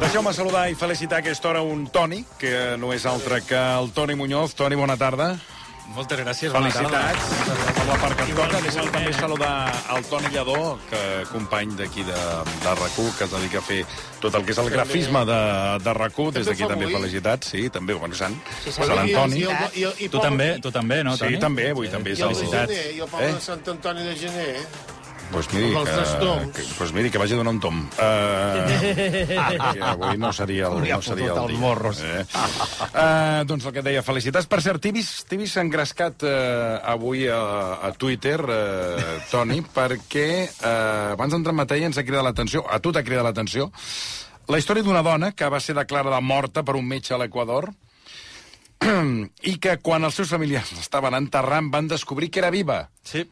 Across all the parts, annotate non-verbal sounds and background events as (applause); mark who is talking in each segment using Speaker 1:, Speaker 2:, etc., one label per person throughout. Speaker 1: Deixeu-me saludar i felicitar a aquesta hora un Toni, que no és altre que el Toni Muñoz. Toni, bona tarda.
Speaker 2: Moltes gràcies, bona
Speaker 1: Felicitats per la part que et toca.
Speaker 2: Igualment.
Speaker 1: Deixa'm també saludar el Toni Lladó, que company d'aquí de, de rac que es dedica a fer tot el que és el grafisme de, de rac Des d'aquí
Speaker 3: fa
Speaker 1: també
Speaker 3: Molí.
Speaker 1: felicitats, sí, també, bueno, Sant,
Speaker 4: Sí, sí.
Speaker 1: Sant Antoni.
Speaker 3: I el, i el, i
Speaker 2: Tu
Speaker 3: el poble-
Speaker 2: també, tu també, no, Toni?
Speaker 1: Sí, també, avui també
Speaker 3: I el de
Speaker 2: felicitats.
Speaker 3: gener, i el poble
Speaker 1: Eh?
Speaker 3: de Sant Antoni de gener. eh?
Speaker 1: Pues miri,
Speaker 3: Amb els Eh.
Speaker 1: que,
Speaker 3: trastoms.
Speaker 1: que, pues miri, que vagi a donar un tom. Uh, avui no seria el, no seria el dia. Morros. Eh? Uh, doncs el que et deia, felicitats. Per cert, Tibis, Tibis s'ha engrescat uh, avui a, a Twitter, uh, Toni, (laughs) perquè uh, abans d'entrar en matèria ens ha cridat l'atenció, a tu t'ha cridat l'atenció, la història d'una dona que va ser declarada morta per un metge a l'Equador (clears throat) i que quan els seus familiars l'estaven enterrant van descobrir que era viva.
Speaker 2: Sí.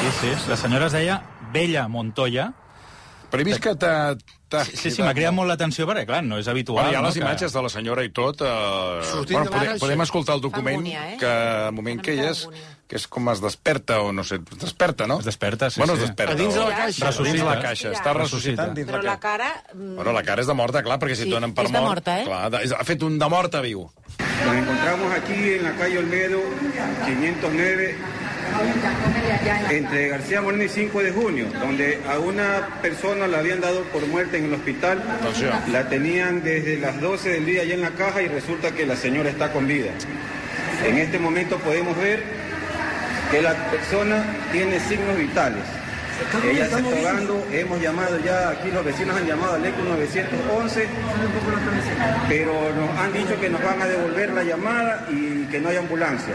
Speaker 2: Sí, sí. La senyora es deia Bella Montoya.
Speaker 1: Però he vist que t'ha... t'ha
Speaker 2: Sí, sí, m'ha cridat molt l'atenció perquè, clar, no és habitual.
Speaker 1: Bueno, hi ha
Speaker 2: no,
Speaker 1: les
Speaker 2: que-
Speaker 1: imatges de la senyora i tot. Eh...
Speaker 3: Sortint
Speaker 1: Bueno,
Speaker 3: de
Speaker 1: podem,
Speaker 3: l'ara,
Speaker 1: podem
Speaker 3: això-
Speaker 1: escoltar el document,
Speaker 4: angúnia, eh?
Speaker 1: que el moment
Speaker 4: Fa
Speaker 1: que hi
Speaker 4: mica
Speaker 1: és,
Speaker 4: angúnia.
Speaker 1: que és com es desperta o no sé, es desperta, no?
Speaker 2: Es desperta, sí,
Speaker 1: Bueno,
Speaker 2: sí.
Speaker 1: es desperta.
Speaker 3: A dins de
Speaker 1: o-
Speaker 3: la caixa.
Speaker 1: Ressuscita. Dins de la
Speaker 2: Ressuscita.
Speaker 1: caixa, està ressuscitant dins
Speaker 4: Però
Speaker 1: la
Speaker 4: la
Speaker 1: caixa.
Speaker 4: cara... mm,
Speaker 1: Bueno, la cara és de morta, clar, perquè si
Speaker 4: Sí,
Speaker 1: et donen per
Speaker 4: és de
Speaker 1: mort...
Speaker 4: morta, eh?
Speaker 1: Clar, de- és- ha fet un de morta viu.
Speaker 5: Nos encontramos aquí en la calle Olmedo, 509, entre García Moreno y 5 de junio, donde a una persona la habían dado por muerte en el hospital.
Speaker 1: Atención.
Speaker 5: La tenían desde las 12 del día allá en la caja y resulta que la señora está con vida. En este momento podemos ver que la persona tiene signos vitales. Ella se está ahogando, hemos llamado ya, aquí los vecinos han llamado al ECU 911, pero nos han dicho que nos van a devolver la llamada y que no hay ambulancia.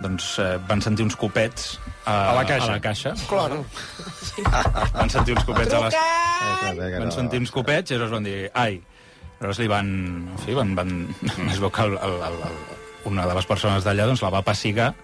Speaker 2: doncs eh, van sentir uns copets a,
Speaker 1: A la caixa.
Speaker 2: A la caixa.
Speaker 3: Claro.
Speaker 2: Van sentir uns copets a les...
Speaker 6: Vinga,
Speaker 2: Van
Speaker 6: no.
Speaker 2: sentir uns copets i llavors van dir, ai. Llavors li van... En fi, van, van... (laughs) Es veu que el, el, el, el, una de les persones d'allà doncs, la va passigar,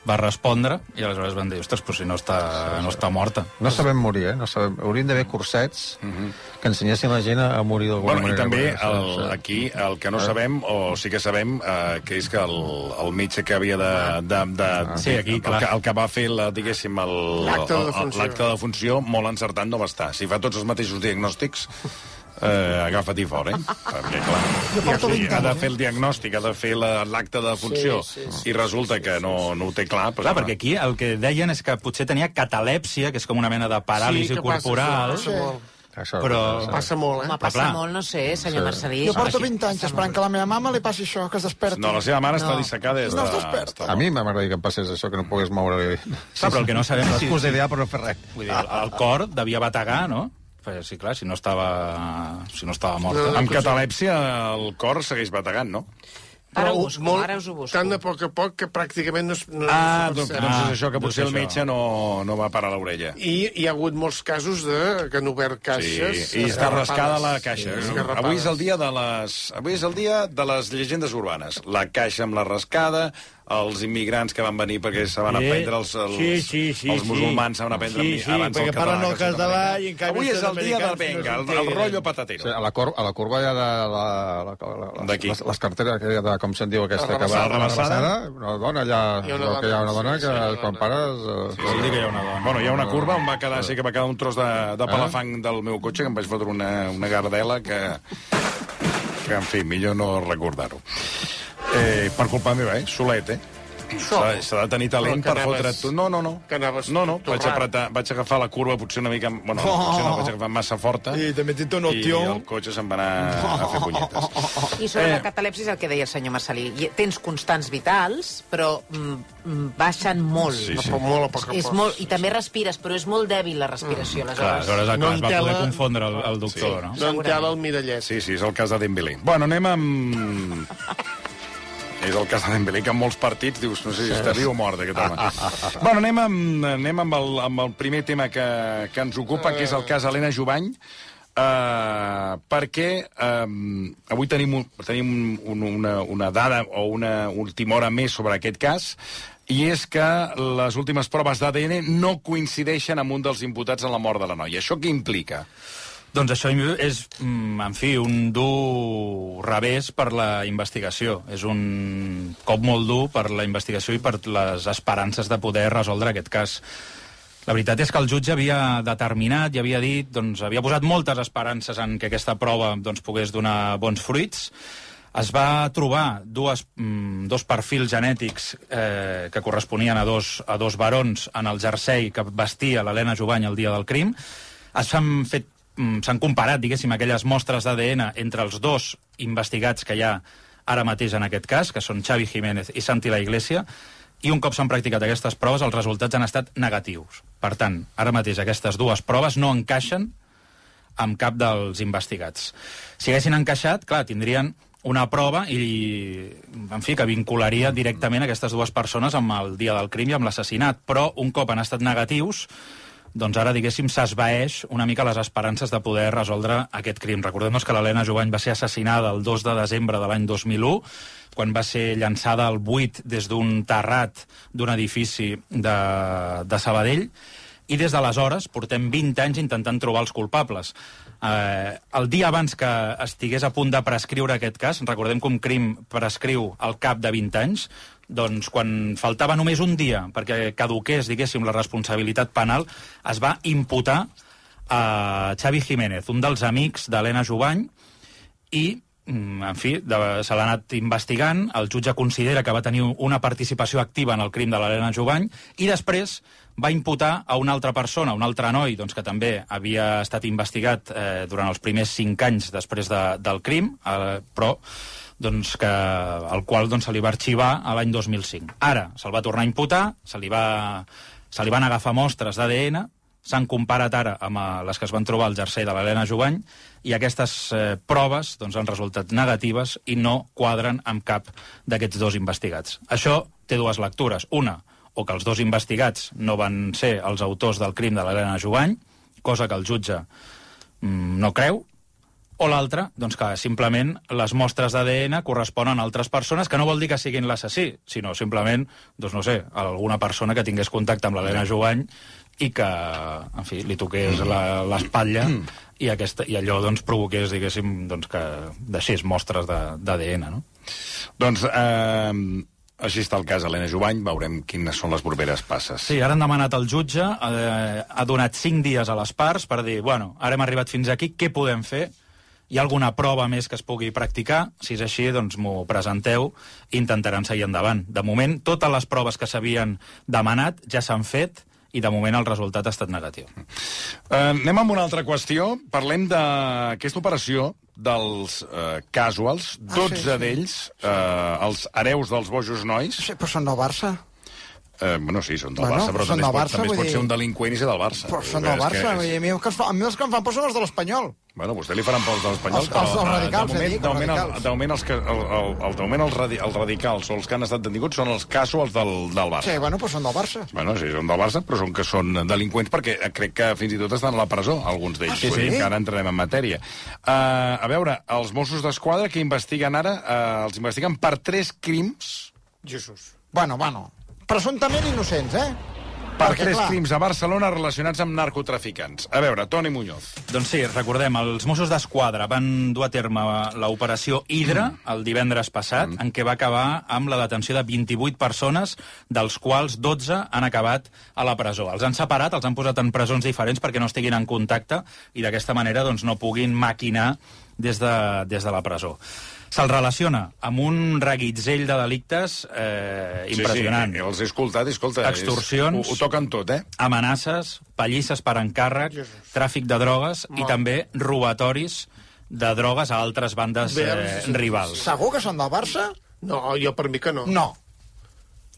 Speaker 2: va respondre i aleshores van dir, ostres, però si no està, no està morta.
Speaker 6: No sabem morir, eh? No sabem. Hauríem d'haver cursets que ensenyessin la gent a a morir d'alguna
Speaker 1: Mhm. Bueno, i
Speaker 6: manera.
Speaker 1: també
Speaker 6: Bueno,
Speaker 1: el,
Speaker 6: això, això.
Speaker 1: aquí el que no sabem, o sí que sabem, eh, que és que el, el metge que havia de... de, de
Speaker 2: Sí, aquí,
Speaker 1: el,
Speaker 2: clar.
Speaker 1: que, el que va fer, la, diguéssim, el-
Speaker 3: L'acte de
Speaker 1: el- el-
Speaker 3: defunció.
Speaker 1: l'acte de funció, molt encertat no va estar. Si fa tots els mateixos diagnòstics, eh, agafa-t'hi fort, eh? Perquè, clar, sí, ha de fer el diagnòstic, ha de fer la- l'acte de funció, sí, sí, sí, i resulta que no, no ho té clar... Doncs,
Speaker 2: Clar, perquè aquí el que deien és que potser tenia catalèpsia, que és com una mena de paràlisi
Speaker 3: Sí, que passa,
Speaker 2: corporal.
Speaker 3: això passa molt.
Speaker 6: Això,
Speaker 2: però-
Speaker 6: això.
Speaker 3: Passa molt,
Speaker 4: Home,
Speaker 3: eh?
Speaker 4: passa
Speaker 2: clar.
Speaker 4: molt, no sé, senyor Marcelí.
Speaker 7: Jo porto
Speaker 4: Així
Speaker 7: 20 anys
Speaker 4: passa
Speaker 7: esperant que a la meva mama li passi això, que es desperti.
Speaker 1: No, la seva mare està
Speaker 4: No.
Speaker 1: dissecada des de...
Speaker 7: No es desperta.
Speaker 6: A mi m'agradaria que em passés això, que no pogués moure-li.
Speaker 1: (laughs)
Speaker 2: Clar, però el que no sabem és si,
Speaker 6: L'excusa ideal per no fer res.
Speaker 2: vull dir, el, el cor devia bategar, no? Però, sí, clar, si no estava, si no estava morta.
Speaker 3: No, no.
Speaker 1: Amb catalèpsia el cor segueix bategant, no?
Speaker 4: molt. Ara ho
Speaker 3: Però
Speaker 4: busco, ara us ho busco.
Speaker 3: Tant de poc a poc que pràcticament no, es- no,
Speaker 1: Ah,
Speaker 3: no
Speaker 1: doncs,
Speaker 3: se
Speaker 1: doncs
Speaker 3: percep.
Speaker 1: és això, que
Speaker 2: doncs
Speaker 1: potser el
Speaker 2: això.
Speaker 1: metge no, no va parar l'orella.
Speaker 3: I hi ha hagut molts casos de, que han obert
Speaker 1: Sí,
Speaker 3: caixes...
Speaker 1: i està
Speaker 3: esgarrapades.
Speaker 1: rascada la caixa. eh?
Speaker 3: Sí, esgarrapades.
Speaker 1: avui és el dia de les avui és el dia de les llegendes urbanes. La caixa amb la rascada, els immigrants que van venir perquè se van
Speaker 8: Sí,
Speaker 1: aprendre els, els,
Speaker 8: sí, sí, sí,
Speaker 1: els
Speaker 8: sí.
Speaker 1: musulmans se van aprendre
Speaker 8: Sí, sí,
Speaker 1: abans
Speaker 8: perquè
Speaker 1: el català.
Speaker 8: parlen el
Speaker 1: que el
Speaker 8: català
Speaker 1: sud-americà.
Speaker 8: i en canvi
Speaker 1: Avui
Speaker 8: els
Speaker 1: és el dia del
Speaker 8: sud-americans no
Speaker 1: venga, el, el
Speaker 8: s'integren.
Speaker 1: rotllo
Speaker 6: Sí,
Speaker 1: patatero.
Speaker 6: a, la cor, a la corba ja de... La, la, la, la,
Speaker 1: D'aquí.
Speaker 6: les, les carteres, aquella de, com se'n diu aquesta? que
Speaker 1: Arrabassada.
Speaker 6: va- arrabassada, Una dona ja...
Speaker 3: Hi ha una
Speaker 6: veu que hi ha
Speaker 3: dona,
Speaker 6: una dona
Speaker 3: sí, sí,
Speaker 6: que
Speaker 3: hi ha una
Speaker 6: quan
Speaker 3: dona.
Speaker 6: pares... eh,
Speaker 2: Vol dir que hi ha una dona. Eh?
Speaker 1: Bueno, hi ha una curva on va quedar, sí que va quedar un tros de, de palafang del meu cotxe, que em vaig fotre una, una gardela que, que, en fi, millor no recordar-ho. Eh, per culpa meva, eh? Solet, eh? S'ha s'ha de tenir talent per
Speaker 3: Però que
Speaker 1: fotre...
Speaker 3: anaves-
Speaker 1: Tu. No, no, no.
Speaker 3: que anaves
Speaker 1: no, no. Vaig,
Speaker 3: torrat. Oh.
Speaker 1: apretar, vaig agafar la curva potser una mica... Bueno, no, potser no, vaig agafar massa forta.
Speaker 8: Sí, també té un
Speaker 1: I
Speaker 8: opció.
Speaker 1: el cotxe se'n va anar a fer
Speaker 3: (laughs)
Speaker 1: punyetes.
Speaker 4: I sobre
Speaker 1: Eh.
Speaker 4: la catalepsia és el que deia el senyor Marcelí. Hi- Tens constants vitals, però mm, mm, baixen molt.
Speaker 1: Sí,
Speaker 3: Però
Speaker 1: sí.
Speaker 3: Molt a poc a poc.
Speaker 4: És molt, I també respires, però és molt dèbil la respiració,
Speaker 2: Clar, aleshores
Speaker 4: aleshores.
Speaker 3: No
Speaker 2: clar, es va poder
Speaker 3: entela-
Speaker 2: confondre el, el doctor, no?
Speaker 3: No en té ara Doncs el mirallet.
Speaker 1: Sí, sí, és el cas de Dembélé. Bueno, anem amb... És el cas de Dembélé, que en molts partits dius, no sé si està viu o mort, aquest home. bueno, anem amb, anem amb, el, amb el primer tema que, que ens ocupa, que és el cas Helena Jovany, Uh, perquè um, avui tenim, un, tenim un, una, una dada o una última hora més sobre aquest cas i és que les últimes proves d'ADN no coincideixen amb un dels imputats en la mort de la noia. Això què implica?
Speaker 2: Doncs això és, mm, en fi, un dur revés per la investigació. És un cop molt dur per la investigació i per les esperances de poder resoldre aquest cas. La veritat és que el jutge havia determinat i havia dit, doncs, havia posat moltes esperances en que aquesta prova doncs, pogués donar bons fruits. Es va trobar dues, mm, dos perfils genètics eh, que corresponien a dos, a dos barons en el jersei que vestia l'Helena Jovany el dia del crim. S'han fet mm, s'han comparat, diguéssim, aquelles mostres d'ADN entre els dos investigats que hi ha ara mateix en aquest cas, que són Xavi Jiménez i Santi La Iglesia, i un cop s'han practicat aquestes proves, els resultats han estat negatius. Per tant, ara mateix aquestes dues proves no encaixen amb cap dels investigats. Si haguessin encaixat, clar, tindrien una prova i, en fi, que vincularia directament aquestes dues persones amb el dia del crim i amb l'assassinat. Però, un cop han estat negatius, doncs ara, diguéssim, s'esvaeix una mica les esperances de poder resoldre aquest crim. Recordem-nos que l'Helena Jovany va ser assassinada el 2 de desembre de l'any 2001, quan va ser llançada al buit des d'un terrat d'un edifici de, de Sabadell, i des d'aleshores portem 20 anys intentant trobar els culpables. Eh, el dia abans que estigués a punt de prescriure aquest cas, recordem que un crim prescriu al cap de 20 anys, doncs quan faltava només un dia perquè caduqués, diguéssim, la responsabilitat penal, es va imputar a Xavi Jiménez, un dels amics d'Helena Jovany, i mm, en fi, de, se l'ha anat investigant, el jutge considera que va tenir una participació activa en el crim de l'Helena Jovany, i després va imputar a una altra persona, un altre noi, doncs, que també havia estat investigat eh, durant els primers cinc anys després de, del crim, eh, però doncs, que, el qual doncs, se li va arxivar a l'any 2005. Ara se'l va tornar a imputar, se li, va, se li van agafar mostres d'ADN, s'han comparat ara amb eh, les que es van trobar al jersei de l'Helena Jovany, i aquestes eh, proves doncs, han resultat negatives i no quadren amb cap d'aquests dos investigats. Això té dues lectures. Una, o que els dos investigats no van ser els autors del crim de l'Helena Jovany, cosa que el jutge mm, no creu, o l'altra, doncs que simplement les mostres d'ADN corresponen a altres persones, que no vol dir que siguin l'assassí, sinó simplement, doncs no sé, alguna persona que tingués contacte amb l'Helena Jovany i que, en fi, li toqués la- l'espatlla i, aquesta, i allò doncs, provoqués, diguéssim, doncs, que deixés mostres de- d'ADN, no?
Speaker 1: Doncs eh, així està el cas Helena Jovany, veurem quines són les properes passes.
Speaker 2: Sí, ara han demanat al jutge, eh, ha donat cinc dies a les parts per dir, bueno, ara hem arribat fins aquí, què podem fer? Hi ha alguna prova més que es pugui practicar? Si és així, doncs m'ho presenteu i intentaran seguir endavant. De moment, totes les proves que s'havien demanat ja s'han fet i de moment el resultat ha estat negatiu.
Speaker 1: Eh, anem amb una altra qüestió. Parlem d'aquesta operació dels eh, casuals, 12
Speaker 7: Ah, sí, sí.
Speaker 1: d'ells, eh, els hereus dels bojos nois.
Speaker 7: Sí, però són del Barça.
Speaker 1: Eh, bueno, sí, són del
Speaker 7: Bueno,
Speaker 1: Barça, però
Speaker 7: són
Speaker 1: també, es
Speaker 7: del
Speaker 1: pot,
Speaker 7: Barça,
Speaker 1: també es
Speaker 7: vull
Speaker 1: pot
Speaker 7: dir-
Speaker 1: ser un delinqüent i ser del Barça.
Speaker 7: Però
Speaker 1: Vull
Speaker 7: són
Speaker 1: dir,
Speaker 7: del
Speaker 1: és que
Speaker 7: Barça.
Speaker 1: és-
Speaker 7: vull dir, A mi els que, em fa- a mi els que em fan por són els de l'Espanyol.
Speaker 1: Bueno, vostè li faran pels de l'Espanyol,
Speaker 7: Els- els dels
Speaker 1: de
Speaker 7: radicals,
Speaker 1: moment,
Speaker 7: eh, dic,
Speaker 1: de moment,
Speaker 7: els
Speaker 1: el,
Speaker 7: radicals.
Speaker 1: de moment, els, que, el, el, el, de moment els, radi, els radicals o els que han estat detinguts són els casuals del, del Barça.
Speaker 7: Sí, bueno, però són del Barça.
Speaker 1: Bueno, sí, són del Barça, però són que són delinqüents perquè eh, crec que fins i tot estan a la presó, alguns d'ells.
Speaker 7: Ah, sí?
Speaker 1: Vull dir Que ara entrarem en matèria. Uh, a veure, els Mossos d'Esquadra que investiguen ara, uh, els investiguen per tres crims,
Speaker 3: Jesús.
Speaker 7: Bueno, bueno. Presumptament innocents, eh?
Speaker 1: per
Speaker 7: Perquè,
Speaker 1: tres
Speaker 7: clar,
Speaker 1: crims a Barcelona relacionats amb narcotraficants. A veure, Toni Muñoz.
Speaker 2: Doncs sí, recordem, els Mossos d'Esquadra van dur a terme l'operació Hidra el divendres passat,
Speaker 1: Mm.
Speaker 2: en què va acabar amb la detenció de 28 persones, dels quals 12 han acabat a la presó. Els han separat, els han posat en presons diferents perquè no estiguin en contacte i d'aquesta manera doncs, no puguin maquinar des de, des de la presó. Se'l relaciona amb un reguitzell de delictes eh, impressionant.
Speaker 1: Sí, sí, els he escoltat, escolta. és-
Speaker 2: Extorsions.
Speaker 1: Ho, ho toquen tot, eh?
Speaker 2: amenaces, pallisses per encàrrec, tràfic de drogues i també robatoris de drogues a altres bandes
Speaker 3: Bé,
Speaker 2: eh,
Speaker 3: sí, sí,
Speaker 2: rivals.
Speaker 7: Segur que són del Barça?
Speaker 3: No, jo per mi que no.
Speaker 7: No.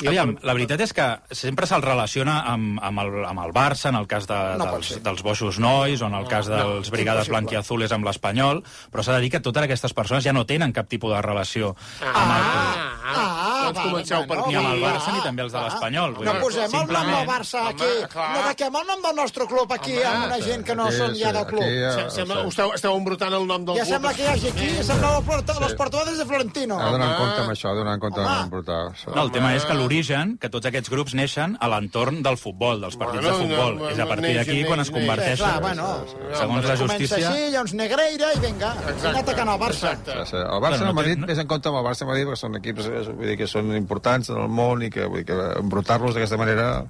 Speaker 2: Aviam, la veritat és que sempre se'l relaciona amb, amb, el, amb el Barça, en el cas de,
Speaker 7: No pot
Speaker 2: dels,
Speaker 7: ser.
Speaker 2: dels Boixos Nois, o en el cas dels
Speaker 3: no,
Speaker 2: Brigades
Speaker 3: impossible.
Speaker 2: Blanquiazules amb l'Espanyol, però s'ha de dir que totes aquestes persones ja no tenen cap tipus de relació ah. amb el...
Speaker 3: Ah, ah, ah,
Speaker 7: Doncs
Speaker 3: tots comenceu per
Speaker 2: ni
Speaker 3: aquí.
Speaker 2: amb el Barça ni també els de l'Espanyol. vull
Speaker 7: Ah, No
Speaker 2: dir,
Speaker 7: posem el nom del
Speaker 2: simplement-
Speaker 7: Barça aquí.
Speaker 3: Home, clar.
Speaker 7: No de el nom del nostre club aquí
Speaker 3: Home,
Speaker 7: amb una gent que no
Speaker 6: Aquí,
Speaker 7: són ja
Speaker 6: sí,
Speaker 7: del club.
Speaker 6: aquí, eh,
Speaker 3: Se- Sembla,
Speaker 6: sí.
Speaker 3: esteu, esteu embrutant el nom del
Speaker 7: ah, Ja
Speaker 3: club.
Speaker 7: sembla que hi hagi aquí, sembla el porta, les portades de Florentino.
Speaker 6: Heu d'anar en compte amb això, heu d'anar en compte
Speaker 7: Home.
Speaker 6: amb portar. Sí.
Speaker 2: No, el tema és que l'origen, que tots aquests grups neixen a l'entorn del futbol, dels partits
Speaker 3: Bueno,
Speaker 2: de futbol.
Speaker 3: no,
Speaker 2: és a partir
Speaker 3: neix,
Speaker 2: d'aquí
Speaker 3: neix,
Speaker 2: quan es
Speaker 3: neix.
Speaker 7: Eh,
Speaker 2: converteixen.
Speaker 7: clar, bueno,
Speaker 2: Segons la
Speaker 7: comença
Speaker 2: justícia...
Speaker 7: així, llavors Negreira i vinga,
Speaker 3: Exacte,
Speaker 7: anar atacant el Barça.
Speaker 3: Exacte.
Speaker 6: Sí, sí. El Barça
Speaker 2: Bueno,
Speaker 6: no,
Speaker 2: no
Speaker 6: el Madrid,
Speaker 2: té- no-
Speaker 6: més en compte amb el Barça i Madrid, perquè són equips eh, vull dir, que són importants en el món i que, vull dir, que embrutar-los d'aquesta manera...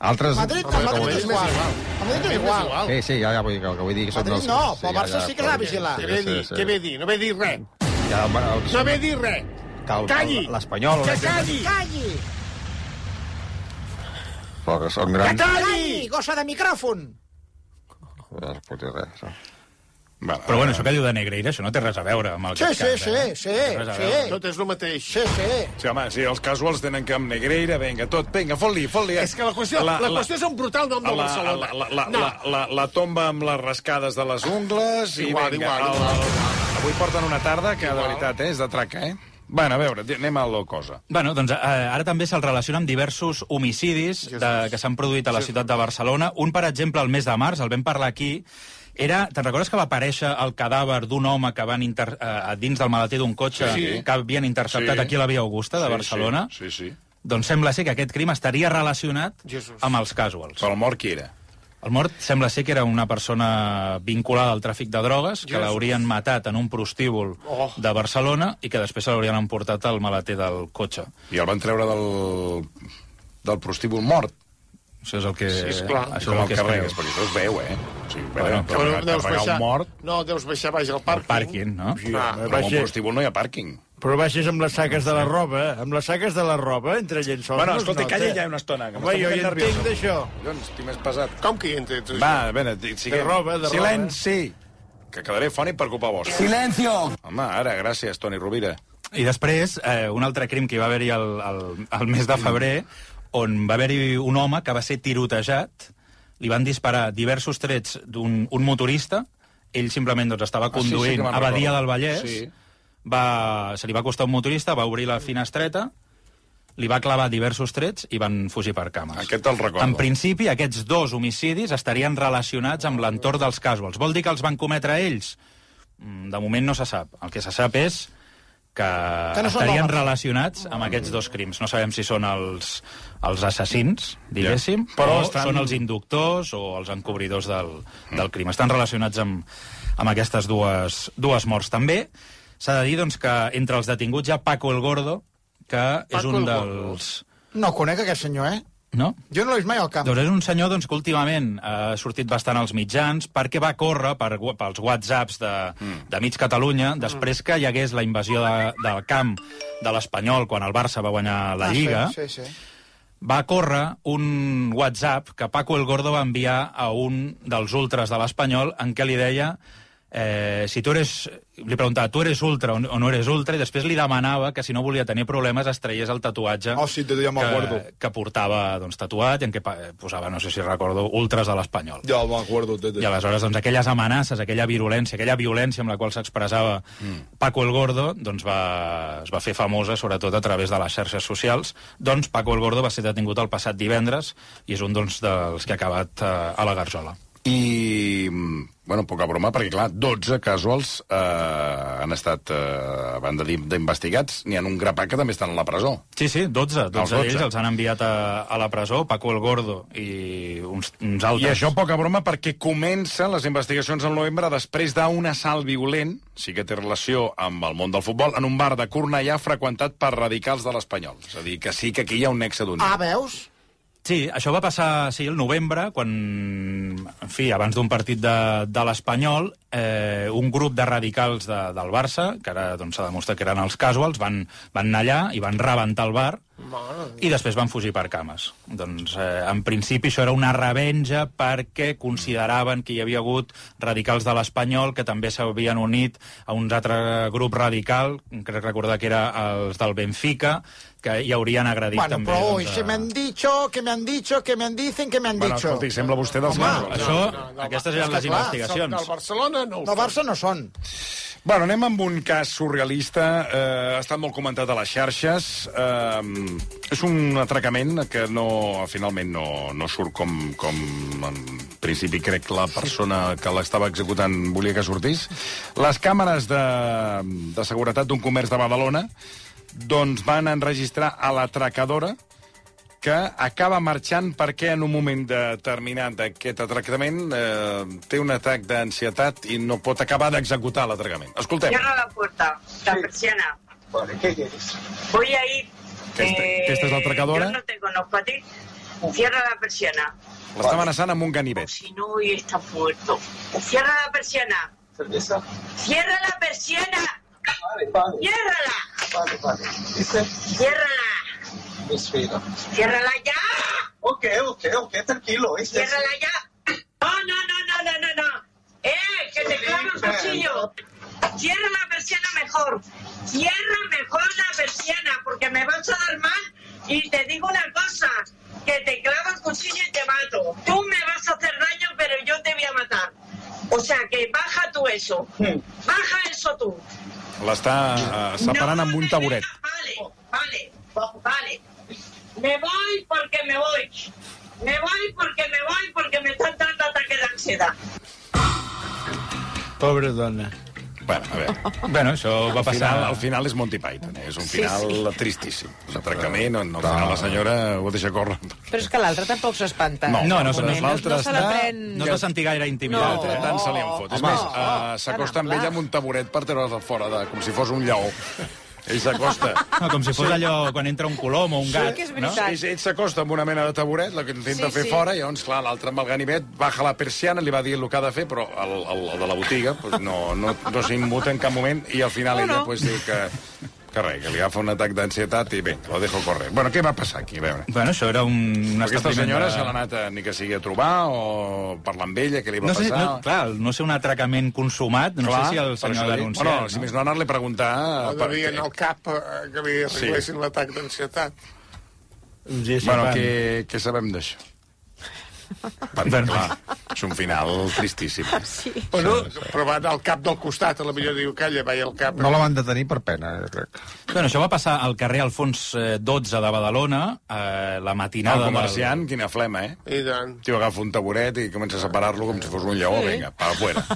Speaker 6: Altres...
Speaker 7: Madrid,
Speaker 3: Home,
Speaker 7: el Madrid
Speaker 3: Madrid
Speaker 7: és
Speaker 3: és
Speaker 7: igual.
Speaker 3: igual.
Speaker 7: El Madrid és igual.
Speaker 3: igual.
Speaker 6: Sí, sí, ja, ja vull dir que, que vull dir que són...
Speaker 7: Madrid
Speaker 6: dels-
Speaker 7: no, però el Barça sí que l'ha vigilat.
Speaker 3: Què ve a dir? Què ve a dir? No ve a dir res.
Speaker 6: Ja, el, el,
Speaker 3: No ve a dir res.
Speaker 6: que el-
Speaker 3: Calli!
Speaker 6: L'Espanyol...
Speaker 3: Que calli!
Speaker 7: Calli!
Speaker 6: Però que són
Speaker 3: Que
Speaker 6: grans...
Speaker 3: calli!
Speaker 7: Calli! Gossa de micròfon!
Speaker 6: No es pot dir res. no.
Speaker 1: Vale,
Speaker 2: Però bueno, això que diu de Negreira, això no té res a veure amb el
Speaker 7: Sí,
Speaker 2: que eh?
Speaker 7: sí, sí, sí, sí.
Speaker 3: Tot és el mateix.
Speaker 7: Sí, sí.
Speaker 1: Sí, home, sí, els casuals tenen que amb Negreira, vinga, tot, vinga, fot-li, fot-li. eh.
Speaker 3: És que la qüestió, la, la qüestió és un brutal nom
Speaker 1: la,
Speaker 3: del
Speaker 1: la, la,
Speaker 3: Barcelona.
Speaker 1: la, la, la, la, la tomba amb les rascades de les ungles i
Speaker 3: Igual,
Speaker 1: vinga,
Speaker 3: igual,
Speaker 1: el-
Speaker 3: igual.
Speaker 1: el- avui porten una tarda que, de veritat, eh, és de traca, eh? Bueno, a veure, di- anem a la cosa.
Speaker 2: Bueno, doncs eh, ara també se'l relaciona amb diversos homicidis de, que s'han produït a la ciutat de Barcelona. Un, per exemple, el mes de març, el vam parlar aquí, era, te'n recordes que va aparèixer el cadàver d'un home que van inter, eh, dins del maleter d'un cotxe
Speaker 1: Sí.
Speaker 2: que havien interceptat
Speaker 1: Sí.
Speaker 2: aquí a la Via Augusta de
Speaker 1: Sí,
Speaker 2: Barcelona?
Speaker 1: Sí, sí. sí.
Speaker 2: Doncs sembla ser que aquest crim estaria relacionat
Speaker 3: Jesús.
Speaker 2: amb els casuals.
Speaker 1: Però el mort qui era?
Speaker 2: El mort sembla ser que era una persona vinculada al tràfic de drogues, que
Speaker 3: Jesús.
Speaker 2: l'haurien matat en un prostíbul
Speaker 3: Oh.
Speaker 2: de Barcelona i que després se l'haurien emportat al maleter del cotxe.
Speaker 1: I el van treure del, del prostíbul mort.
Speaker 2: Això és el que...
Speaker 3: Sí, esclar.
Speaker 1: Com
Speaker 2: Això és
Speaker 1: al
Speaker 2: el que es
Speaker 1: carrer,
Speaker 2: creu.
Speaker 1: és perquè això es veu, eh? O sigui,
Speaker 2: Bueno,
Speaker 1: bueno,
Speaker 2: però
Speaker 1: però, carregar un mort...
Speaker 3: No, deus baixar baix al pàrquing.
Speaker 2: Pàrquing, no?
Speaker 1: Sí,
Speaker 3: Clar,
Speaker 1: home,
Speaker 8: va
Speaker 1: però
Speaker 8: ser-
Speaker 1: un prostíbul no hi ha pàrquing.
Speaker 8: Però baixes amb les saques de la roba, eh? amb les saques de la roba, entre llençols.
Speaker 1: Bueno,
Speaker 8: no es
Speaker 1: escolta,
Speaker 8: nota.
Speaker 1: calla ja una estona, que
Speaker 8: Home,
Speaker 1: m'està
Speaker 8: jo
Speaker 1: posant
Speaker 8: ja
Speaker 1: nerviós.
Speaker 8: entenc d'això.
Speaker 1: Collons, estic més pesat.
Speaker 3: Com que hi entres?
Speaker 1: Va, a veure, di- siguem...
Speaker 8: roba, de roba.
Speaker 1: Silenci! Que quedaré fònic per culpa vostra.
Speaker 9: Silencio.
Speaker 1: Home, ara, gràcies, Toni Rovira.
Speaker 2: I després, eh, un altre crim que hi va haver-hi el, el, el mes de febrer, on va haver-hi un home que va ser tirotejat, li van disparar diversos trets d'un un motorista, ell simplement doncs, estava
Speaker 1: Ah, sí, sí que
Speaker 2: conduint
Speaker 1: me'n
Speaker 2: a Badia
Speaker 1: recordo.
Speaker 2: del Vallès,
Speaker 1: Sí.
Speaker 2: va, se li va acostar un motorista, va obrir la finestreta, li va clavar diversos trets i van fugir per cames.
Speaker 1: Aquest te'l recordo.
Speaker 2: En principi, aquests dos homicidis estarien relacionats amb l'entorn dels casuals. Vol dir que els van cometre ells? Mm, De moment no se sap. El que se sap és que,
Speaker 7: Que no són
Speaker 2: estarien
Speaker 7: homes.
Speaker 2: relacionats amb aquests dos crims. No sabem si són els, els assassins, diguéssim,
Speaker 1: Ja. Però
Speaker 2: però o
Speaker 1: estan-
Speaker 2: són els inductors o els encobridors del, del crim. Estan relacionats amb, amb aquestes dues, dues morts. També s'ha de dir doncs, que entre els detinguts hi ha Paco el Gordo, que és
Speaker 3: Paco
Speaker 2: un
Speaker 3: el Gordo.
Speaker 2: dels...
Speaker 7: No conec aquest senyor, eh?
Speaker 2: No?
Speaker 7: Jo no l'he vist mai al camp.
Speaker 2: Doncs és un senyor doncs, que últimament eh, ha sortit bastant als mitjans perquè va córrer per, wa- pels whatsapps de, mm. de mig Catalunya
Speaker 7: Mm.
Speaker 2: després que hi hagués la invasió de, del camp de l'Espanyol quan el Barça va guanyar la Lliga.
Speaker 7: Ah, sí, sí, sí.
Speaker 2: Va córrer un whatsapp que Paco el Gordo va enviar a un dels ultras de l'Espanyol en què li deia eh, si tu eres... Li preguntava, tu eres ultra o no- o no eres ultra? I després li demanava que si no volia tenir problemes es traies el tatuatge
Speaker 7: Ah, sí, te diria, me'l guardo.
Speaker 2: que, que portava doncs, tatuat i en què pa- posava, no sé si recordo, ultras de l'Espanyol.
Speaker 7: Ja m'acordo, tete.
Speaker 2: I aleshores, doncs, aquelles amenaces, aquella virulència, aquella violència amb la qual s'expressava
Speaker 1: Mm.
Speaker 2: Paco el Gordo, doncs va, es va fer famosa, sobretot a través de les xarxes socials. Doncs Paco el Gordo va ser detingut el passat divendres i és un doncs, dels que ha acabat eh, a la Garjola.
Speaker 1: I, mm, bueno, poca broma, perquè, clar, 12 casuals eh, han estat, eh, a banda d'im- d'investigats, n'hi ha un grapà que també estan a la presó.
Speaker 2: Sí, sí, 12. 12,
Speaker 1: 12.
Speaker 2: d'ells els han enviat a, a la presó, Paco el Gordo i uns, uns altres.
Speaker 1: I això, poca broma, perquè comencen les investigacions al novembre després d'un assalt violent, sí que té relació amb el món del futbol, en un bar de Cornellà freqüentat per radicals de l'Espanyol. És a dir, que sí que aquí hi ha un nexe d'unió.
Speaker 7: Ah, veus?
Speaker 2: Sí, això va passar sí, el novembre, quan, en fi, abans d'un partit de, de l'Espanyol, eh, un grup de radicals de, del Barça, que ara doncs, s'ha demostrat que eren els casuals, van, van anar allà i van rebentar el bar i després van fugir per cames. Doncs, eh, en principi, això era una revenja perquè consideraven que hi havia hagut radicals de l'Espanyol que també s'havien unit a un altre grup radical, crec recordar que era els del Benfica, que hi haurien agredit
Speaker 7: Bueno,
Speaker 2: també...
Speaker 7: però oi,
Speaker 2: doncs,
Speaker 7: si
Speaker 2: a-
Speaker 7: me han dicho, que me han dicho, que me han dicen, que me han
Speaker 1: Bueno,
Speaker 7: dicho.
Speaker 1: escolti, sembla vostè dels
Speaker 7: Home,
Speaker 1: meus.
Speaker 2: Això, aquestes eren les
Speaker 3: Clar, sóc
Speaker 2: investigacions.
Speaker 3: Del Barcelona no ho
Speaker 7: No, Barça no són.
Speaker 1: Bueno, anem amb un cas surrealista. Eh, ha estat molt comentat a les xarxes. Eh, és un atracament que no, finalment no, no surt com, com en principi crec la persona que l'estava executant volia que sortís. Les càmeres de, de seguretat d'un comerç de Badalona doncs van enregistrar a l'atracadora que acaba marxant perquè en un moment determinat d'aquest atracament eh, té un atac d'ansietat i no pot acabar d'executar l'atracament. Escoltem,
Speaker 10: Cierra la puerta, la persiana.
Speaker 5: Vale, ¿qué quieres?
Speaker 10: Voy a ir.
Speaker 1: Que esta- que esta es la atracadora.
Speaker 10: Yo no te conozco a ti. Cierra la persiana.
Speaker 1: l'està amenaçant amb un ganivet.
Speaker 10: Si no, hoy estás muerto. Cierra la persiana.
Speaker 5: Cerveza.
Speaker 10: Cierra la persiana.
Speaker 5: Vale, vale,
Speaker 10: Ciérrala.
Speaker 5: vale, vale. Dice,
Speaker 10: Ciérrala.
Speaker 5: respira.
Speaker 10: Ciérrala ya.
Speaker 5: Ok, ok, ok, tranquilo. ¿viste?
Speaker 10: Ciérrala ya. No, no, no, no, no, no, no. Eh, que te clavo el cuchillo. Cierra la persiana mejor. Cierra mejor la persiana porque me vas a dar mal y te digo una cosa, que te clavo el cuchillo y te mato. Tú me vas a hacer daño, pero yo te voy a matar. O sea que baja tú eso. Baja eso tú.
Speaker 1: L'està eh, separant amb un taburet.
Speaker 10: Vale, vale, vale. Me voy porque me voy. Me voy porque me voy porque me están dando ataques de ansiedad.
Speaker 8: Pobra dona.
Speaker 1: Bueno, a (laughs) veure,
Speaker 2: Bueno, això va
Speaker 1: al
Speaker 2: passar...
Speaker 1: final, al final és Monty Python, eh? és un final sí, sí. tristíssim. L'atracament, on al
Speaker 6: Però-
Speaker 1: final la senyora ho deixa córrer.
Speaker 4: Però és que l'altre tampoc s'espanta.
Speaker 1: No,
Speaker 2: No, no,
Speaker 4: En
Speaker 2: no,
Speaker 4: algun moment.
Speaker 2: l'altre
Speaker 4: no se la
Speaker 1: està-
Speaker 4: pren...
Speaker 2: No es va sentir gaire intimidat,
Speaker 1: L'altre
Speaker 2: eh?
Speaker 1: tant se li en fot. És
Speaker 4: Home.
Speaker 1: més, eh, s'acosta amb
Speaker 4: Tan ample.
Speaker 1: ella amb un taburet per treure'l fora, de, com si fos un lleó. Ell
Speaker 4: (laughs)
Speaker 1: s'acosta.
Speaker 2: No, com si fos allò quan entra un colom o un
Speaker 4: Sí,
Speaker 2: gat.
Speaker 4: que és
Speaker 2: no?
Speaker 4: veritat.
Speaker 1: Ell, ell s'acosta amb una mena de taburet, la que intenta
Speaker 4: Sí,
Speaker 1: sí, fer
Speaker 4: sí.
Speaker 1: sí. fora, i llavors, clar, l'altre amb el ganivet baja la persiana, li va dir el que ha de fer, però el, el, el de la botiga pues, no, no, no s'immuta en cap moment, i al final
Speaker 4: No,
Speaker 1: no, ella
Speaker 4: no.
Speaker 1: pues, diu que, que res, que li agafa un atac d'ansietat i bé, lo dejo correr. Bueno, què va passar aquí? A veure.
Speaker 2: Bueno, això era un, un
Speaker 1: Aquesta
Speaker 2: establiment
Speaker 1: senyora
Speaker 2: de-
Speaker 1: se l'ha anat a, ni que sigui a trobar o parlar amb ella, què li va
Speaker 2: No sé,
Speaker 1: passar...
Speaker 2: no, clar, al no sé un atracament consumat, no
Speaker 1: Clar,
Speaker 2: sé si
Speaker 1: per
Speaker 2: el
Speaker 1: això
Speaker 2: senyor
Speaker 1: dic.
Speaker 2: l'ha anunciat.
Speaker 1: Bueno, si més no anar-li a preguntar... Ah,
Speaker 3: No
Speaker 1: per
Speaker 3: devia
Speaker 1: què.
Speaker 3: anar al cap eh, que li arreglessin sí. l'atac d'ansietat.
Speaker 1: Bueno, què, què sabem d'això? Perquè, clar, és un final tristíssim. Sí.
Speaker 3: Però, però va anar al cap del costat, a la millor diu, calla, vaig al cap.
Speaker 6: No la van detenir per pena, eh, crec.
Speaker 2: Bueno, això va passar al carrer Alfons eh, 12 de Badalona, eh, la
Speaker 1: El
Speaker 2: matinada...
Speaker 1: comerciant, quina flema, eh?
Speaker 3: I tant.
Speaker 1: tio agafa un taburet i comença a separar-lo com si fos un lleó, sí. vinga, pa fuera.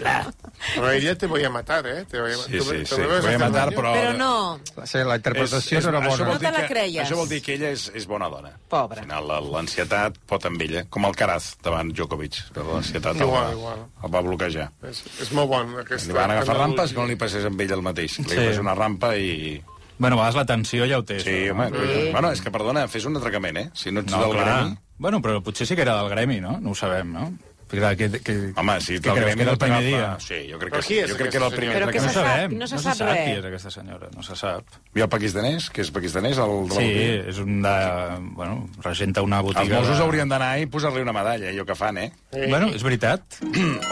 Speaker 3: Però ella te voy a matar, eh? Te voy a,
Speaker 1: Sí,
Speaker 3: tu-
Speaker 1: sí,
Speaker 3: tu
Speaker 1: sí.
Speaker 3: me vas
Speaker 1: Voy a
Speaker 3: hacer
Speaker 1: matar,
Speaker 3: daño?
Speaker 1: però...
Speaker 4: Però no,
Speaker 6: Sí, la interpretació és, és, era
Speaker 1: això
Speaker 6: bona.
Speaker 1: vol dir
Speaker 4: No te la
Speaker 1: que-
Speaker 4: creies.
Speaker 1: Això vol dir que ella és, és bona dona.
Speaker 4: Pobra.
Speaker 1: Al final, la- l'ansietat pot amb ella, com el Caraz davant Djokovic, però l'ansietat el, va-
Speaker 3: Igual, igual.
Speaker 1: el va bloquejar.
Speaker 3: És, és molt bon, aquesta...
Speaker 1: Li van agafar
Speaker 3: analogia.
Speaker 1: rampes, no li passés amb ell el mateix. Li
Speaker 2: Sí.
Speaker 1: sí. una rampa i...
Speaker 2: Bueno, a vegades la tensió ja ho té.
Speaker 1: Sí,
Speaker 2: això,
Speaker 1: home.
Speaker 2: no?
Speaker 1: Sí. Bueno, és que, perdona, fes un atracament, eh? Si no ets
Speaker 2: No,
Speaker 1: del
Speaker 2: clar.
Speaker 1: gremi...
Speaker 2: Bueno, però potser sí que era del gremi, no? No ho sabem, no? Clar, que, que,
Speaker 1: Home, si ets
Speaker 2: Què
Speaker 1: del
Speaker 2: creus,
Speaker 1: gremi
Speaker 2: que era
Speaker 1: no
Speaker 2: el primer dia?
Speaker 1: t'agafa. Sí, jo crec
Speaker 3: Però
Speaker 1: que,
Speaker 3: qui
Speaker 1: sí.
Speaker 3: és
Speaker 1: jo crec que era el
Speaker 3: aquesta
Speaker 1: primer
Speaker 3: senyora?
Speaker 4: Però què
Speaker 2: no
Speaker 4: se
Speaker 1: atracament.
Speaker 4: sap,
Speaker 2: sabem,
Speaker 4: no se
Speaker 2: no
Speaker 4: sap
Speaker 2: se sap
Speaker 4: res.
Speaker 2: qui és aquesta senyora, no se sap.
Speaker 1: I el pakistanès, que és pakistanès, el de la
Speaker 2: Sí,
Speaker 1: botiga?
Speaker 2: és un de... Bueno, regenta una botiga...
Speaker 1: Els Mossos
Speaker 2: de-
Speaker 1: haurien d'anar i posar-li una medalla, allò que fan, eh? (clears throat)
Speaker 2: Bueno, és veritat.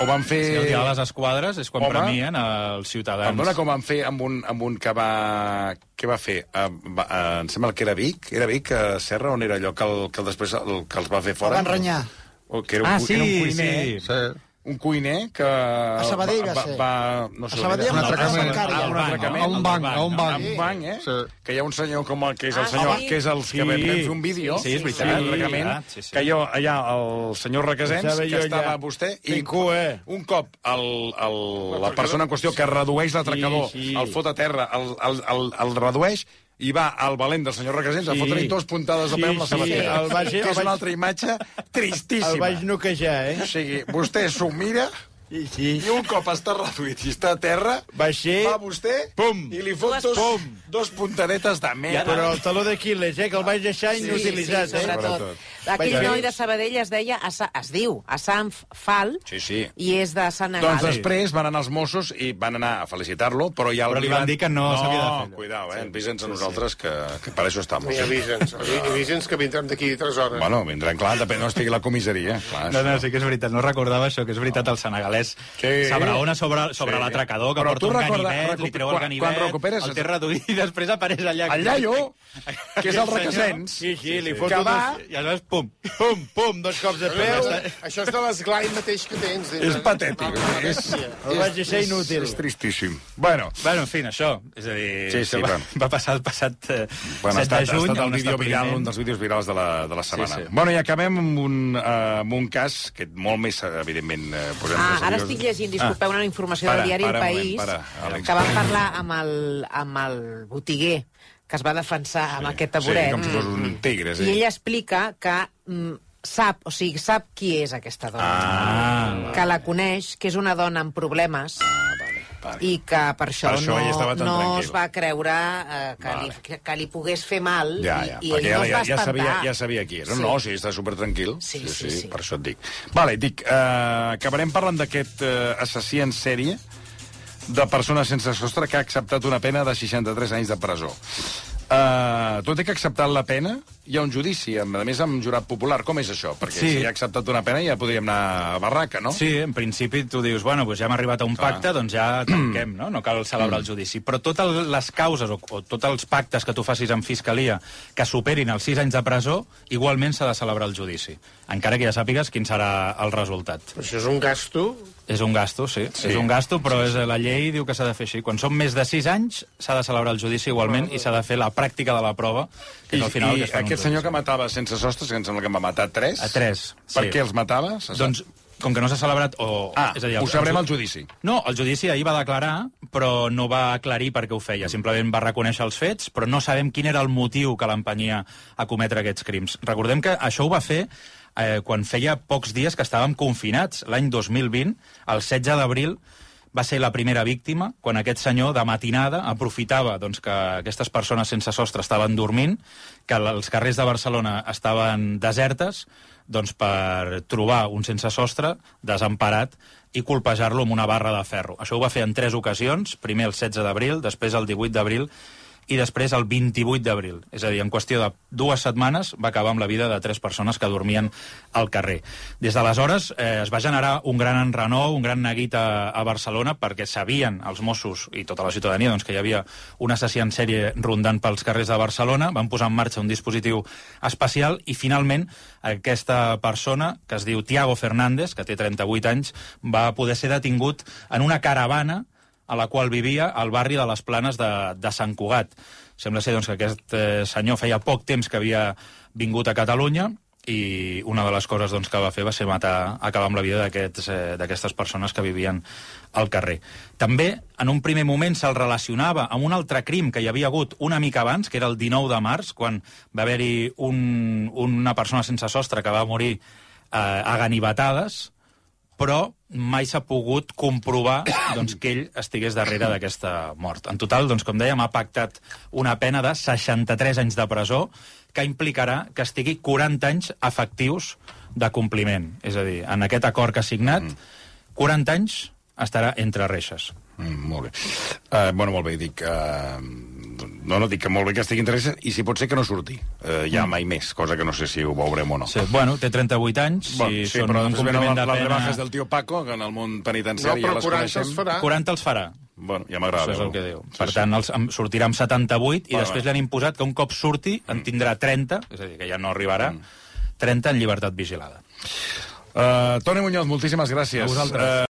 Speaker 1: O van fer...
Speaker 2: El dia de les esquadres és quan
Speaker 1: Eh, Home.
Speaker 2: premien els ciutadans.
Speaker 1: Perdona, com van fer amb un, amb un que va... Què va fer? Uh, va, uh, em sembla que era Vic. Era Vic, a Serra, on era allò que, el, que el després el, que els va fer fora?
Speaker 7: El van renyar.
Speaker 1: O, que era un,
Speaker 2: Ah,
Speaker 1: cu-
Speaker 2: sí,
Speaker 1: era un cuiner, eh?
Speaker 2: sí.
Speaker 6: Sí.
Speaker 1: Un cuiner que...
Speaker 7: A Sabadell va
Speaker 1: va,
Speaker 7: ser.
Speaker 1: va, no sé,
Speaker 7: A
Speaker 1: on
Speaker 7: Sabadell,
Speaker 6: Un
Speaker 1: era.
Speaker 7: no,
Speaker 6: atracament.
Speaker 7: a Bancària.
Speaker 1: Ah, un atracament.
Speaker 6: A un banc, a un banc.
Speaker 1: A un banc, eh?
Speaker 6: Sí.
Speaker 1: Que hi ha un senyor com el que és el
Speaker 4: Ah,
Speaker 1: senyor,
Speaker 4: sí.
Speaker 1: que és el que
Speaker 2: Sí.
Speaker 1: vam fer un vídeo.
Speaker 2: Sí, sí, és veritat.
Speaker 1: un reglament,
Speaker 2: Ah, sí, sí.
Speaker 1: Que jo, allà, el senyor Requesens,
Speaker 8: Pensava
Speaker 1: que
Speaker 8: jo
Speaker 1: estava
Speaker 8: allà.
Speaker 1: amb vostè, i
Speaker 8: Fent cua.
Speaker 1: un cop el, el, la persona en qüestió que redueix l'atracador,
Speaker 8: Sí, sí.
Speaker 1: el fot a terra, el, el, el, el redueix, i va al valent del senyor Requesens a
Speaker 8: Sí.
Speaker 1: fotre-hi dos puntades de
Speaker 8: Sí,
Speaker 1: peu amb la
Speaker 8: sí,
Speaker 1: sabatera.
Speaker 8: el vaig-
Speaker 1: que
Speaker 8: el
Speaker 1: és
Speaker 8: vaig-
Speaker 1: una altra imatge tristíssima.
Speaker 8: El vaig noquejar, eh?
Speaker 1: O sigui, vostè s'ho mira
Speaker 8: Sí, sí.
Speaker 1: i un cop està reduït i està a terra,
Speaker 8: Va ser...
Speaker 1: va vostè
Speaker 8: Pum!
Speaker 1: i li fot dos,
Speaker 8: Pum!
Speaker 1: dos puntadetes de merda.
Speaker 8: Però el taló d'Aquiles, eh, que el vaig deixar inutilitzat,
Speaker 4: sí,
Speaker 8: eh?
Speaker 4: sobretot.
Speaker 1: Sobretot.
Speaker 4: Aquell
Speaker 8: Vaja.
Speaker 4: noi de Sabadell es deia, Asa- es diu, Asanf Fal,
Speaker 1: Sí, sí.
Speaker 4: i és de Sant
Speaker 1: Doncs
Speaker 4: Agat.
Speaker 1: després van anar els Mossos i van anar a felicitar-lo, però ja el
Speaker 2: Però li van dir que no s'havia de fer allò.
Speaker 1: No, cuidao, eh? Avisa'ns a nosaltres que, que per això eh? estem.
Speaker 3: I avisa'ns, avi- avisa'ns que vindran d'aquí 3 hores.
Speaker 1: Bueno, vindran, clar, depèn no estigui a la comissaria. Clar,
Speaker 2: No, no, sí que és veritat, no recordava això, que és veritat, el senegalès és sí. Sabraona sobre, sobre sí. l'atracador, que
Speaker 1: Però
Speaker 2: porta
Speaker 1: tu
Speaker 2: un
Speaker 1: recorda-
Speaker 2: ganivet, li
Speaker 1: recu-
Speaker 2: treu el
Speaker 1: quan-
Speaker 2: ganivet,
Speaker 1: quan recuperes-
Speaker 2: el té reduït, i després apareix allà.
Speaker 1: El iaio, que és el
Speaker 2: senyor.
Speaker 1: requesens,
Speaker 8: Sí, sí, li
Speaker 1: que
Speaker 8: foto
Speaker 1: va...
Speaker 8: dos... I aleshores, pum, pum, pum, dos cops de
Speaker 3: Veu?
Speaker 8: peu.
Speaker 3: Això és de l'esglai mateix que tens.
Speaker 1: És patètic. És,
Speaker 8: El vaig ser inútil.
Speaker 1: és tristíssim. Bueno,
Speaker 2: Bueno, en fi, això. És a dir,
Speaker 1: Sí, sí,
Speaker 2: això va,
Speaker 1: bueno.
Speaker 2: va passar el passat eh,
Speaker 1: Bueno, ha estat,
Speaker 2: 7 de juny.
Speaker 1: ha estat
Speaker 2: a
Speaker 1: el
Speaker 2: un
Speaker 1: vídeo viral,
Speaker 2: establiment.
Speaker 1: un dels vídeos virals de la, de la setmana. Sí,
Speaker 2: sí.
Speaker 1: sí. Bueno, i acabem amb un, uh, amb un cas que molt més, eh, evidentment, uh, posem
Speaker 4: Ah, ara estic llegint, disculpeu, una informació
Speaker 1: Para,
Speaker 4: del diari
Speaker 1: para
Speaker 4: El
Speaker 1: un moment,
Speaker 4: País
Speaker 1: para, Àlex.
Speaker 4: que van parlar amb el, amb el botiguer que es va defensar amb aquest
Speaker 1: Sí,
Speaker 4: taburet. Mm.
Speaker 1: com si fos un tigre, sí.
Speaker 4: I ella explica que mm, sap, o sigui, sap qui és aquesta dona. Ah, que la coneix, que és una dona amb problemes i que per això,
Speaker 1: Ah, Per això ella
Speaker 4: no,
Speaker 1: estava tan
Speaker 4: no
Speaker 1: tranquil·la.
Speaker 4: es va creure eh, que, vale. li, que, que li pogués fer mal
Speaker 1: Ja, ja,
Speaker 4: i, i
Speaker 1: perquè
Speaker 4: ell no es
Speaker 1: ja,
Speaker 4: va
Speaker 1: ja,
Speaker 4: espantar.
Speaker 1: sabia, ja sabia qui era.
Speaker 4: Sí.
Speaker 1: Sí. No, sí, està supertranquil.
Speaker 4: Sí, sí, sí.
Speaker 1: Per això et dic. Vale, dic, eh, acabarem parlant d'aquest eh, assassí en sèrie de persones sense sostre que ha acceptat una pena de 63 anys de presó. Uh, tot i que ha acceptat la pena, hi ha un judici, amb- a més amb jurat popular. Com és això? Perquè
Speaker 2: Sí.
Speaker 1: si ha acceptat una pena ja podríem anar a barraca, no?
Speaker 2: Sí, en principi tu dius, bueno, doncs ja hem arribat a un
Speaker 1: Oh. Clar. Mm.
Speaker 2: pacte, doncs ja tanquem, no? No cal celebrar el judici. Però totes les causes o, o tots els pactes que tu facis amb fiscalia que superin els 6 anys de presó, igualment s'ha de celebrar el judici. Encara que ja sàpigues quin serà el resultat.
Speaker 3: Però això és un gasto
Speaker 2: És un gasto, sí. sí. És un gasto, però és, la llei diu que s'ha de fer així. Quan són més de 6 anys, s'ha de celebrar el judici igualment i s'ha de fer la pràctica de la prova, que
Speaker 1: I,
Speaker 2: és al final...
Speaker 1: i
Speaker 2: que es fan uns
Speaker 1: aquest senyor
Speaker 2: judicis.
Speaker 1: que matava sense sostres, que em sembla que en va matar tres...
Speaker 2: A tres,
Speaker 1: Per
Speaker 2: sí.
Speaker 1: què els matava? Se sap?
Speaker 2: Doncs, com que no s'ha celebrat... O,
Speaker 1: Ah,
Speaker 2: és a dir,
Speaker 1: ho sabrem al judici.
Speaker 2: No, el judici ahir va declarar, però no va aclarir per què ho feia. Simplement va reconèixer els fets, però no sabem quin era el motiu que l'empenyia a cometre aquests crims. Recordem que això ho va fer eh, quan feia pocs dies que estàvem confinats, l'any 2020, el 16 d'abril, va ser la primera víctima, quan aquest senyor, de matinada, aprofitava doncs, que aquestes persones sense sostre estaven dormint, que l- els carrers de Barcelona estaven desertes, doncs, per trobar un sense sostre desemparat i colpejar-lo amb una barra de ferro. Això ho va fer en tres ocasions, primer el 16 d'abril, després el 18 d'abril i després el 28 d'abril. És a dir, en qüestió de dues setmanes va acabar amb la vida de tres persones que dormien al carrer. Des d'aleshores eh, es va generar un gran enrenou, un gran neguit a, a Barcelona, perquè sabien els Mossos i tota la ciutadania doncs, que hi havia un assassí en sèrie rondant pels carrers de Barcelona, van posar en marxa un dispositiu especial i finalment aquesta persona, que es diu Tiago Fernández, que té 38 anys, va poder ser detingut en una caravana a la qual vivia al barri de les Planes de, de Sant Cugat. Sembla ser doncs, que aquest eh, senyor feia poc temps que havia vingut a Catalunya i una de les coses doncs, que va fer va ser matar, acabar amb la vida d'aquests, eh, d'aquestes persones que vivien al carrer. També, en un primer moment, se'l relacionava amb un altre crim que hi havia hagut una mica abans, que era el 19 de març, quan va haver-hi un, una persona sense sostre que va morir eh, a ganivetades, però mai s'ha pogut comprovar doncs, que ell estigués darrere d'aquesta mort. En total, doncs, com dèiem, ha pactat una pena de 63 anys de presó que implicarà que estigui 40 anys efectius de compliment. És a dir, en aquest acord que ha signat, 40 anys estarà entre reixes.
Speaker 1: Mm, molt bé. Uh, bueno, molt bé, dic... Uh, no, no, dic que molt bé que estigui interessant i si pot ser que no surti, uh, ja mai més, cosa que no sé si ho veurem o no.
Speaker 2: Mm. Sí, bueno, té 38 anys,
Speaker 1: Bueno,
Speaker 2: si
Speaker 1: sí,
Speaker 2: són
Speaker 1: però
Speaker 2: en
Speaker 1: després venen
Speaker 2: compliment de
Speaker 1: les, les
Speaker 2: pena...
Speaker 1: rebajes del tio Paco, que en el món
Speaker 3: No,
Speaker 1: penitenciari ja
Speaker 3: però
Speaker 1: les
Speaker 3: 40 es
Speaker 1: coneixem.
Speaker 3: farà.
Speaker 2: 40 els farà.
Speaker 1: Bueno, ja m'agrada.
Speaker 2: Això és el que
Speaker 1: veure-ho.
Speaker 2: diu. Per tant, els, em, sortirà amb 78 i
Speaker 1: Vale,
Speaker 2: després
Speaker 1: vale.
Speaker 2: li han imposat que un cop surti en tindrà 30, Mm. és a dir, que ja no arribarà, 30 en llibertat vigilada.
Speaker 1: Uh, Toni Muñoz, moltíssimes gràcies.
Speaker 2: A vosaltres.
Speaker 1: Eh,